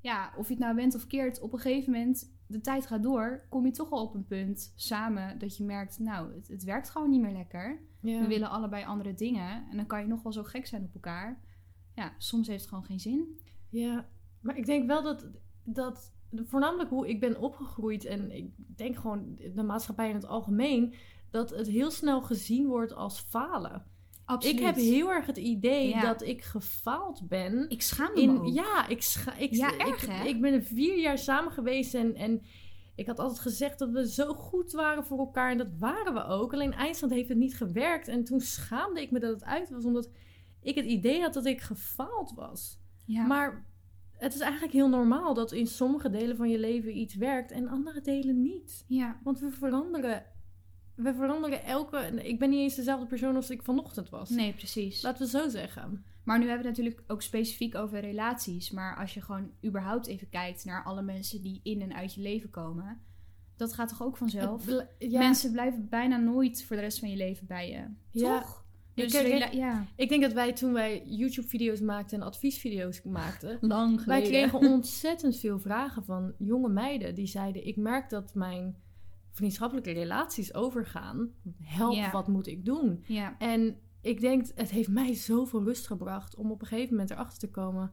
C: Ja, of je het nou bent of keert, op een gegeven moment, de tijd gaat door, kom je toch al op een punt samen dat je merkt, nou, het, het werkt gewoon niet meer lekker.
B: Ja.
C: We willen allebei andere dingen. En dan kan je nog wel zo gek zijn op elkaar. Ja, soms heeft het gewoon geen zin.
B: Ja, maar ik denk wel dat, dat voornamelijk hoe ik ben opgegroeid en ik denk gewoon de maatschappij in het algemeen, dat het heel snel gezien wordt als falen.
C: Absoluut.
B: Ik heb heel erg het idee
C: Ja.
B: dat ik gefaald ben.
C: Ik schaam me
B: In,
C: ook.
B: ja, ik, scha- ik,
C: Ja,
B: ik,
C: erg, hè?
B: ik ben er vier jaar samen geweest en, en ik had altijd gezegd dat we zo goed waren voor elkaar. En dat waren we ook. Alleen IJsland heeft het niet gewerkt. En toen schaamde ik me dat het uit was, omdat ik het idee had dat ik gefaald was.
C: Ja.
B: Maar het is eigenlijk heel normaal dat in sommige delen van je leven iets werkt en andere delen niet.
C: ja.
B: Want we veranderen. We veranderen elke. Ik ben niet eens dezelfde persoon als ik vanochtend was.
C: Nee, precies.
B: Laten we zo zeggen.
C: Maar nu hebben we het natuurlijk ook specifiek over relaties. Maar als je gewoon überhaupt even kijkt naar alle mensen die in en uit je leven komen, dat gaat toch ook vanzelf?
B: Het bl- ja,
C: Mensen blijven bijna nooit voor de rest van je leven bij je.
B: ja.
C: Toch?
B: Ik-
C: Dus
B: ik-
C: rela- ja.
B: Ik denk dat wij toen wij YouTube-video's maakten en adviesvideo's maakten.
C: (laughs) Lang
B: Wij kregen ontzettend veel vragen van jonge meiden die zeiden: Ik merk dat mijn vriendschappelijke relaties overgaan. Help,
C: Ja.
B: wat moet ik doen?
C: Ja,
B: En ik denk, het heeft mij zoveel rust gebracht om op een gegeven moment erachter te komen.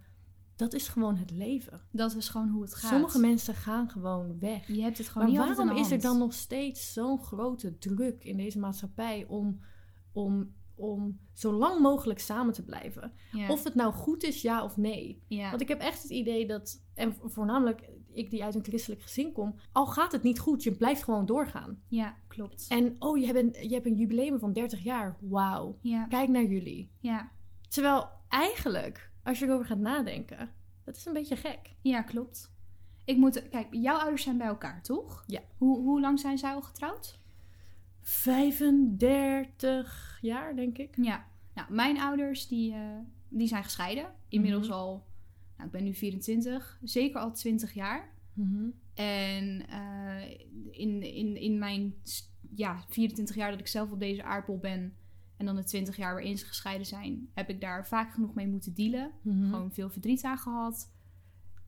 B: Dat is gewoon het leven.
C: dat is gewoon hoe het gaat.
B: Sommige mensen gaan gewoon weg.
C: Je hebt het gewoon
B: Maar
C: niet altijd
B: waarom
C: in de
B: is er
C: hand.
B: dan nog steeds zo'n grote druk in deze maatschappij om, om, om zo lang mogelijk samen te blijven?
C: Ja.
B: Of het nou goed is, ja of nee.
C: ja.
B: Want ik heb echt het idee dat, en voornamelijk ik die uit een christelijk gezin kom, al gaat het niet goed, je blijft gewoon doorgaan.
C: ja, klopt.
B: En oh, je hebt een, je hebt een jubileum van 30 jaar. Wauw.
C: Ja,
B: Kijk naar jullie.
C: ja.
B: Terwijl eigenlijk, als je erover gaat nadenken, dat is een beetje gek.
C: ja, klopt. Ik moet, kijk, jouw ouders zijn bij elkaar, toch?
B: Ja.
C: Hoe, hoe lang zijn zij al getrouwd?
B: 35 jaar, denk ik.
C: Ja, nou, mijn ouders die, eh, die zijn gescheiden. Inmiddels al, nou, ik ben nu 24, zeker al 20 jaar. Mhm. En eh, in, in, in mijn s- ja, 24 jaar dat ik zelf op deze aardbol ben en dan de 20 jaar waarin ze gescheiden zijn, heb ik daar vaak genoeg mee moeten dealen.
B: Mhm.
C: Gewoon veel verdriet aan gehad.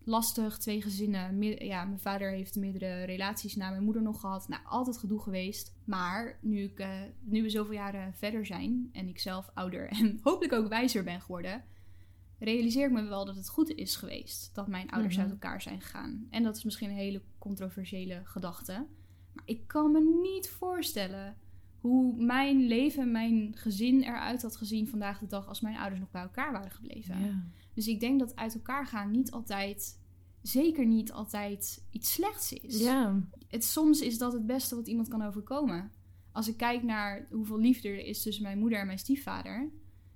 C: Lastig, twee gezinnen. meer- ja, mijn vader heeft meerdere relaties na mijn moeder nog gehad. Nou, altijd gedoe geweest. Maar nu, ik, eh, nu we zoveel jaren verder zijn en ik zelf ouder en (laughs) hopelijk ook wijzer ben geworden, realiseer ik me wel dat het goed is geweest dat mijn ouders
B: Mhm.
C: uit elkaar zijn gegaan. En dat is misschien een hele controversiële gedachte. Maar ik kan me niet voorstellen hoe mijn leven, mijn gezin eruit had gezien vandaag de dag als mijn ouders nog bij elkaar waren gebleven. Dus ik denk dat uit elkaar gaan niet altijd, zeker niet altijd iets slechts is.
B: Ja.
C: Het, soms is dat het beste wat iemand kan overkomen. Als ik kijk naar hoeveel liefde er is tussen mijn moeder en mijn stiefvader.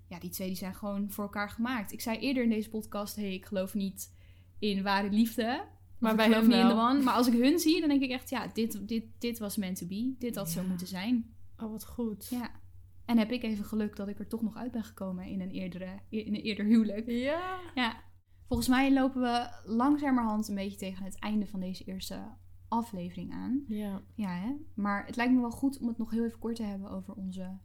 C: Ja, die twee die zijn gewoon voor elkaar gemaakt. Ik zei eerder in deze podcast, hey, ik geloof niet in ware liefde.
B: Maar
C: Of
B: bij
C: ik geloof
B: hem
C: niet in de
B: wel.
C: one. Maar als ik hun zie, dan denk ik echt, ja, dit, dit, dit was meant to be. Dit had zo
B: Ja.
C: moeten zijn.
B: Oh, wat goed.
C: Ja. En heb ik even geluk dat ik er toch nog uit ben gekomen in een, eerdere, in een eerder huwelijk.
B: Ja.
C: Ja, volgens mij lopen we langzamerhand een beetje tegen het einde van deze eerste aflevering aan.
B: Ja.
C: Ja, hè? maar het lijkt me wel goed om het nog heel even kort te hebben over onze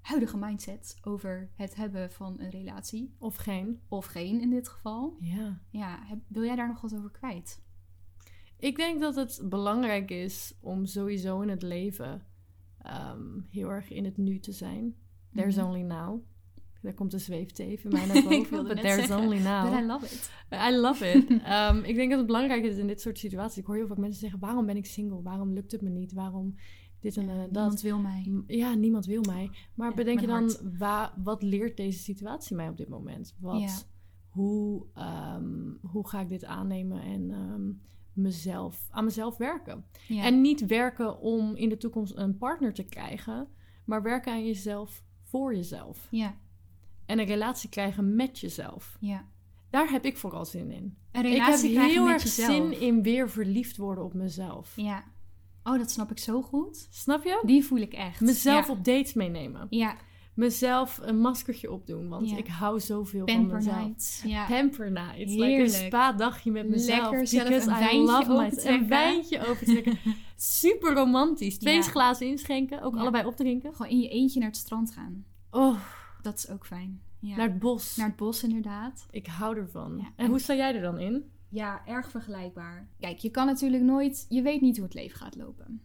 C: huidige mindset. Over het hebben van een relatie,
B: Of geen.
C: of geen in dit geval.
B: Ja.
C: Ja, heb- wil jij daar nog wat over kwijt?
B: Ik denk dat het belangrijk is om sowieso in het leven ehm, heel erg in het nu te zijn. There's
C: Mhm.
B: only now. Daar komt de zweefteef (laughs) in mij naar boven.
C: Ik wilde
B: but
C: net
B: there's
C: zeggen,
B: only now.
C: But I love it.
B: I love it. (laughs) Ehm, ik denk dat het belangrijk is in dit soort situaties. Ik hoor heel vaak mensen zeggen: waarom ben ik single? Waarom lukt het me niet? Waarom dit en eh,
C: Niemand
B: dat?
C: wil mij.
B: M- Ja, niemand wil mij. Maar
C: Ja,
B: bedenk je
C: mijn
B: dan, wa- wat leert deze situatie mij op dit moment? Wat,
C: Ja.
B: hoe, ehm, hoe ga ik dit aannemen en ehm, mezelf, aan mezelf werken?
C: Ja.
B: En niet werken om in de toekomst een partner te krijgen, maar werken aan jezelf voor jezelf.
C: ja,
B: En een relatie krijgen met jezelf.
C: ja.
B: Daar heb ik vooral zin in.
C: Een
B: Ik heb
C: relatie krijgen
B: heel
C: met
B: erg
C: jezelf.
B: zin in weer verliefd worden op mezelf.
C: Ja. Oh, dat snap ik zo goed.
B: Snap je?
C: Die voel ik echt.
B: Mezelf
C: ja.
B: op dates meenemen.
C: Ja,
B: Mezelf een maskertje opdoen, want
C: Ja.
B: ik hou zoveel
C: Pamper
B: van mezelf.
C: nights. Ja.
B: Pamper nights.
C: Heerlijk.
B: Like een spa-dagje met mezelf.
C: Lekker zelf
B: because
C: een
B: I
C: wijntje
B: love my-
C: opentrekken.
B: Een wijntje overtrekken.
C: (laughs)
B: Super romantisch. Twee
C: Ja.
B: glazen inschenken, ook
C: Ja.
B: allebei opdrinken.
C: Gewoon in je eentje naar het strand gaan.
B: Oh,
C: Dat is ook fijn. Ja.
B: naar het bos.
C: Naar het bos inderdaad.
B: Ik hou ervan.
C: Ja.
B: En hoe sta jij er dan in?
C: Ja, erg vergelijkbaar. Kijk, je kan natuurlijk nooit... Je weet niet hoe het leven gaat lopen.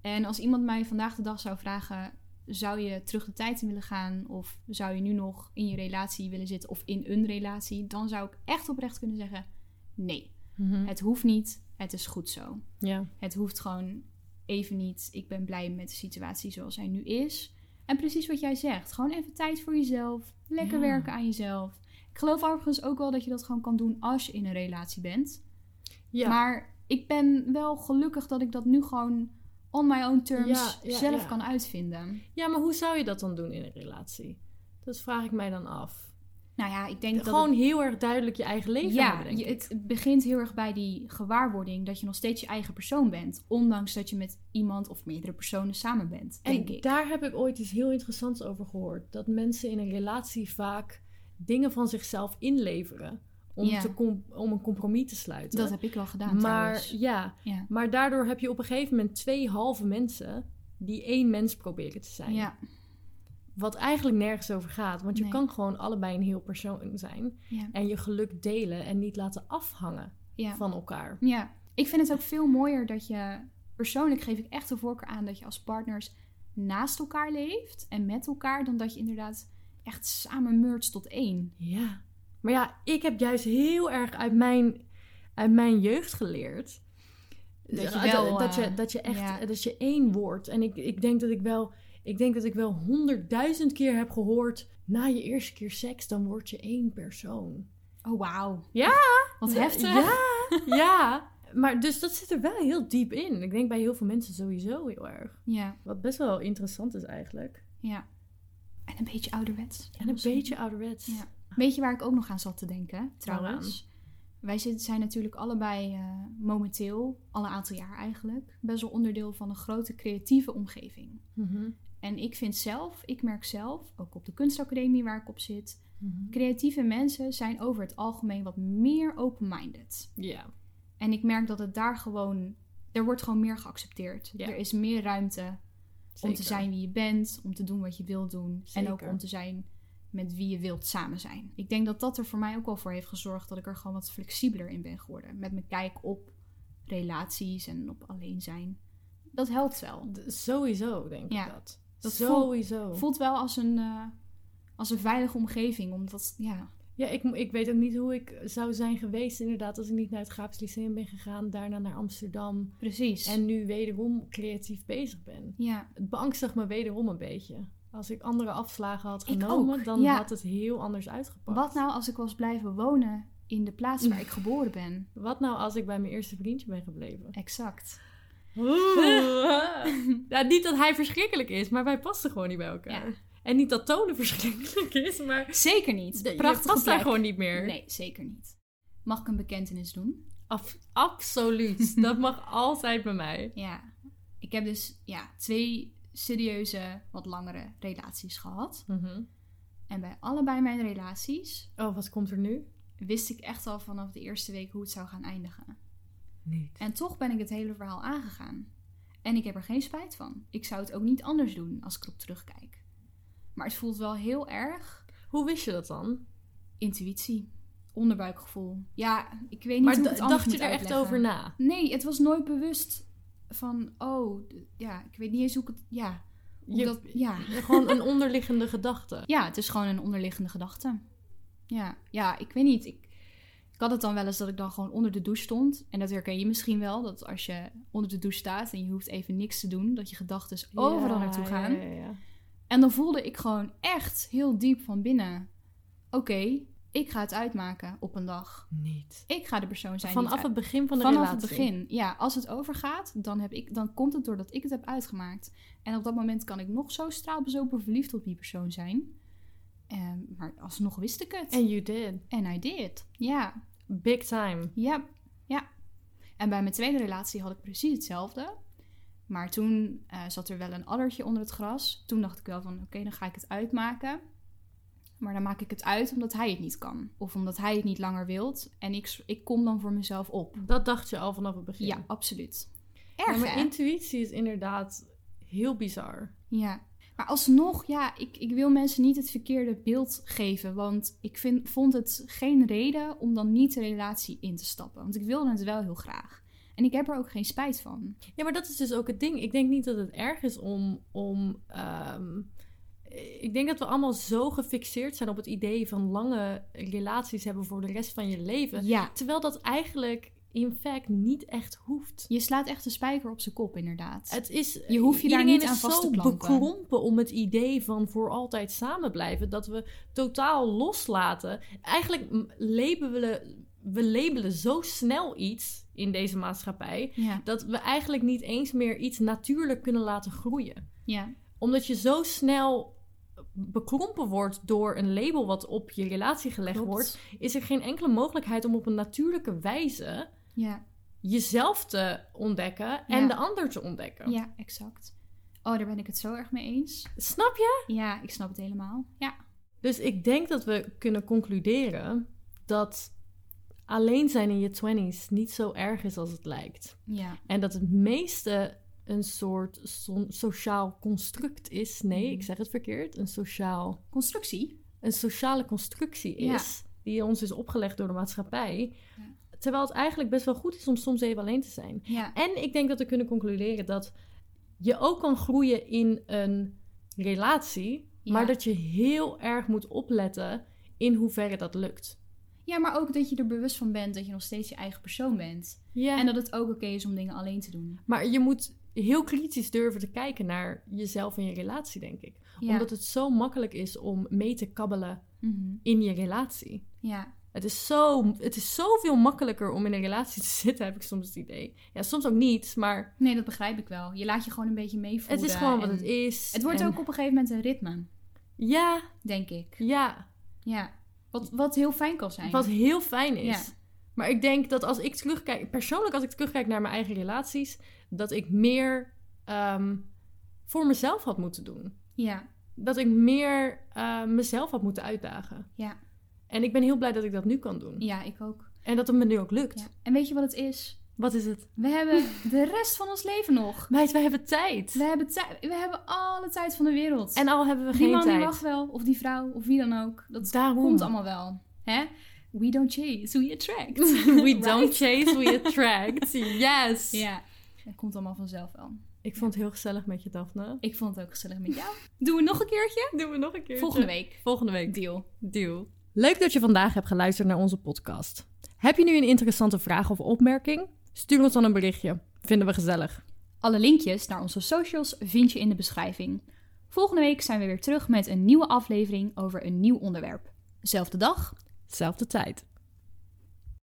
C: En als iemand mij vandaag de dag zou vragen... Zou je terug de tijd in willen gaan? Of zou je nu nog in je relatie willen zitten? Of in een relatie? Dan zou ik echt oprecht kunnen zeggen... Nee,
B: Mhm.
C: het hoeft niet. Het is goed zo.
B: Ja.
C: Het hoeft gewoon even niet. Ik ben blij met de situatie zoals hij nu is. En precies wat jij zegt. Gewoon even tijd voor jezelf. Lekker
B: Ja.
C: werken aan jezelf. Ik geloof overigens ook wel dat je dat gewoon kan doen als je in een relatie bent.
B: Ja.
C: Maar ik ben wel gelukkig dat ik dat nu gewoon on my own terms
B: Ja, ja,
C: zelf
B: ja.
C: kan uitvinden.
B: ja, maar hoe zou je dat dan doen in een relatie? Dat vraag ik mij dan af.
C: Nou ja, ik denk dat...
B: Gewoon heel erg duidelijk je eigen leven
C: Ja,
B: hebben, denk
C: je-
B: ik.
C: het het begint heel erg bij die gewaarwording dat je nog steeds je eigen persoon bent. Ondanks dat je met iemand of meerdere personen samen bent, denk
B: en
C: ik.
B: daar heb ik ooit iets heel interessants over gehoord. Dat mensen in een relatie vaak dingen van zichzelf inleveren. Om,
C: Ja.
B: te com- om een compromis te sluiten.
C: Dat heb ik wel gedaan
B: maar,
C: trouwens.
B: ja,
C: Ja.
B: maar daardoor heb je op een gegeven moment twee halve mensen die één mens proberen te zijn.
C: Ja,
B: Wat eigenlijk nergens over gaat. Want je
C: Nee.
B: kan gewoon allebei een heel persoon zijn.
C: ja,
B: En je geluk delen en niet laten afhangen
C: ja.
B: van elkaar.
C: Ja, ik vind het ook veel mooier dat je. Persoonlijk geef ik echt de voorkeur aan dat je als partners naast elkaar leeft en met elkaar, dan dat je inderdaad echt samen mergt tot één.
B: Ja. Maar ja, ik heb juist heel erg uit mijn, uit mijn jeugd geleerd.
C: Dat je
B: Eh,
C: wel,
B: dat, je,
C: eh,
B: dat je echt
C: ja.
B: dat je één wordt. En ik, ik denk dat ik wel. Ik denk dat ik wel honderdduizend keer heb gehoord. Na je eerste keer seks, dan word je één persoon.
C: (laughs) Oh, wauw.
B: Ja.
C: Wat
B: Ja,
C: heftig.
B: Ja, ja. Maar dus dat zit er wel heel diep in. Ik denk bij heel veel mensen sowieso heel erg.
C: Ja,
B: Wat best wel interessant is eigenlijk.
C: ja. En een beetje ouderwets.
B: En een beetje ouderwets.
C: Ja. Weet je waar ik ook nog aan zat te denken, trouwens? Wij zit- zijn natuurlijk allebei eh, momenteel, alle aantal jaar eigenlijk, best wel onderdeel van een grote creatieve omgeving.
B: Mhm,
C: En ik vind zelf, ik merk zelf, ook op de kunstacademie waar ik op zit,
B: mhm.
C: Creatieve mensen zijn over het algemeen wat meer open-minded.
B: Ja.
C: En ik merk dat het daar gewoon. Er wordt gewoon meer geaccepteerd.
B: Ja.
C: Er is meer ruimte om te
B: zeker.
C: zijn wie je bent, om te doen wat je wilt doen. En ook
B: Zeker.
C: om te zijn met wie je wilt samen zijn. Ik denk dat dat er voor mij ook wel voor heeft gezorgd dat ik er gewoon wat flexibeler in ben geworden. Met mijn kijk op relaties en op alleen zijn. Dat helpt wel.
B: D- Sowieso, denk
C: Ja.
B: ik dat.
C: Dat
B: Sowieso.
C: Voelt wel als een, eh, als een veilige omgeving, omdat ja.
B: Ja, ik, mo- ik weet ook niet hoe ik zou zijn geweest inderdaad... als ik niet naar het Gaaps Lyceum ben gegaan... daarna naar Amsterdam...
C: Precies.
B: en nu wederom creatief bezig ben.
C: ja.
B: Het beangstigt me wederom een beetje. Als ik andere afslagen had
C: Ik
B: genomen...
C: ook,
B: dan
C: ja.
B: had het heel anders uitgepakt.
C: Wat Mm. nou als ik was blijven wonen in de plaats waar ik geboren ben?
B: Wat nou als ik bij mijn eerste vriendje ben
C: (laughs)
B: gebleven?
C: Exact.
B: ja, niet dat hij verschrikkelijk is, maar wij passen gewoon niet bij elkaar.
C: Ja.
B: En niet dat tonen (laughs) verschrikkelijk is, maar...
C: Zeker niet.
B: Je
C: Prachtig.
B: past daar gewoon niet meer.
C: Nee, zeker niet. Mag ik een bekentenis doen?
B: Af- absoluut. Dat mag (laughs) altijd bij mij.
C: Ja. Ik heb dus ja, twee serieuze, wat langere relaties gehad.
B: Mhm.
C: En bij allebei mijn relaties
B: Oh, wat komt er nu?
C: wist ik echt al vanaf de eerste week hoe het zou gaan eindigen.
B: Niet.
C: En toch ben ik het hele verhaal aangegaan. En ik heb er geen spijt van. Ik zou het ook niet anders doen als ik erop terugkijk. Maar het voelt wel heel erg
B: Hoe wist je dat dan?
C: intuïtie, onderbuikgevoel. Ja, ik weet niet
B: maar
C: hoe ik
B: d-
C: het anders
B: dacht je
C: moet
B: er echt
C: uitleggen.
B: over na?
C: Nee, het was nooit bewust van, oh, d- ja, ik weet niet eens hoe ik het... Ja, hoe
B: Je-
C: dat, ja.
B: Gewoon
C: (laughs)
B: een onderliggende gedachte.
C: ja, het is gewoon een onderliggende gedachte. Ja, ja ik weet niet. Ik, ik had het dan wel eens dat ik dan gewoon onder de douche stond. En dat herken je misschien wel, dat als je onder de douche staat en je hoeft even niks te doen, dat je gedachten overal
B: Ja,
C: naartoe
B: ja,
C: gaan.
B: ja, ja.
C: En dan voelde ik gewoon echt heel diep van binnen, oké, ik ga het uitmaken op een dag.
B: Niet.
C: Ik ga de persoon zijn die
B: Vanaf het begin van de
C: Vanaf
B: relatie.
C: het begin. Ja, als het overgaat, dan, heb ik, dan komt het doordat ik het heb uitgemaakt. En op dat moment kan ik nog zo straalbezopen verliefd op die persoon zijn. Ehm, maar alsnog wist ik het.
B: And you did.
C: En I did. Ja,
B: Big time.
C: ja, ja. En bij mijn tweede relatie had ik precies hetzelfde. Maar toen eh, zat er wel een addertje onder het gras. Toen dacht ik wel van, oké, dan ga ik het uitmaken. Maar dan maak ik het uit omdat hij het niet kan. Of omdat hij het niet langer wilt. En ik, ik kom dan voor mezelf op.
B: Dat dacht je al vanaf het begin.
C: Ja, absoluut.
B: Ja,
C: Erg,
B: maar
C: hè?
B: intuïtie is inderdaad heel bizar.
C: Ja. Maar alsnog, ja, ik, ik wil mensen niet het verkeerde beeld geven. Want ik vind, vond het geen reden om dan niet de relatie in te stappen. Want ik wilde het wel heel graag. En ik heb er ook geen spijt van.
B: Ja, maar dat is dus ook het ding. Ik denk niet dat het erg is om. om ehm, ik denk dat we allemaal zo gefixeerd zijn op het idee van lange relaties hebben voor de rest van je leven.
C: Ja,
B: Terwijl dat eigenlijk in fact niet echt hoeft.
C: Je slaat echt de spijker op zijn kop, inderdaad.
B: Het is,
C: Je hoeft je daar
B: iedereen is
C: niet aan vast te
B: zo
C: klampen.
B: bekrompen om het idee van voor altijd samen blijven dat we totaal loslaten. Eigenlijk m- labelen we labelen zo snel iets in deze maatschappij
C: Ja,
B: dat we eigenlijk niet eens meer iets natuurlijk kunnen laten groeien.
C: ja,
B: Omdat je zo snel bekrompen wordt door een label wat op je relatie gelegd
C: klopt.
B: wordt, is er geen enkele mogelijkheid om op een natuurlijke wijze
C: Ja,
B: jezelf te ontdekken en
C: Ja.
B: de ander te ontdekken.
C: ja, exact. Oh, daar ben ik het zo erg mee eens.
B: Snap je?
C: Ja, ik snap het helemaal. Ja,
B: Dus ik denk dat we kunnen concluderen dat alleen zijn in je twenties niet zo erg is als het lijkt.
C: ja,
B: En dat het meeste een soort so- sociaal construct is. Nee,
C: Mhm.
B: ik zeg het verkeerd. Een, sociaal,
C: constructie.
B: een sociale constructie
C: Ja.
B: is. Die ons is opgelegd door de maatschappij.
C: Ja.
B: Terwijl het eigenlijk best wel goed is om soms even alleen te zijn.
C: Ja,
B: En ik denk dat we kunnen concluderen dat je ook kan groeien in een relatie,
C: Ja.
B: maar dat je heel erg moet opletten in hoeverre dat lukt.
C: ja, maar ook dat je er bewust van bent dat je nog steeds je eigen persoon bent.
B: Ja.
C: En dat het ook oké is om dingen alleen te doen.
B: Maar je moet heel kritisch durven te kijken naar jezelf en je relatie, denk ik.
C: Ja,
B: Omdat het zo makkelijk is om mee te kabbelen
C: Mhm.
B: in je relatie.
C: ja.
B: Het is, zo, het is zoveel makkelijker om in een relatie te (laughs) zitten, heb ik soms het idee. Ja, soms ook niet, maar
C: nee, dat begrijp ik wel. Je laat je gewoon een beetje meevoeren.
B: het is gewoon wat
C: en-
B: het is.
C: Het wordt
B: En-
C: ook op een gegeven moment een ritme,
B: Ja,
C: denk ik.
B: ja.
C: Ja, wat, wat heel fijn kan zijn.
B: Wat heel fijn is.
C: Ja.
B: Maar ik denk dat als ik terugkijk, persoonlijk als ik terugkijk naar mijn eigen relaties, dat ik meer ehm, voor mezelf had moeten doen.
C: Ja,
B: Dat ik meer eh, mezelf had moeten uitdagen.
C: Ja.
B: En ik ben heel blij dat ik dat nu kan doen.
C: ja, ik ook.
B: En dat het me nu ook lukt.
C: Ja. En weet je wat het is?
B: Wat is het?
C: We
B: (laughs)
C: hebben de rest van ons leven nog.
B: Meid, wij hebben tijd.
C: We hebben, tij- we hebben alle tijd van de wereld.
B: En al hebben we
C: die
B: geen
C: man
B: tijd.
C: die mag wel, of die vrouw, of wie dan ook. Dat
B: Daarom.
C: komt allemaal wel. Hè? We don't chase, we attract.
B: (laughs) We
C: (laughs) Right?
B: don't chase, we attract. Yes.
C: Ja, dat komt allemaal vanzelf wel.
B: Ik vond het heel gezellig met je, Daphne.
C: Ik vond het ook gezellig met jou. Doen we nog een keertje?
B: (laughs) Doen we nog een keer.
C: Volgende week.
B: Volgende week.
C: Deal.
B: Deal. Leuk dat je vandaag hebt geluisterd naar onze podcast. Heb je nu een interessante vraag of opmerking? Stuur ons dan een berichtje. Vinden we gezellig.
C: Alle linkjes naar onze socials vind je in de beschrijving. Volgende week zijn we weer terug met een nieuwe aflevering over een nieuw onderwerp. Zelfde dag,
B: Zelfde tijd.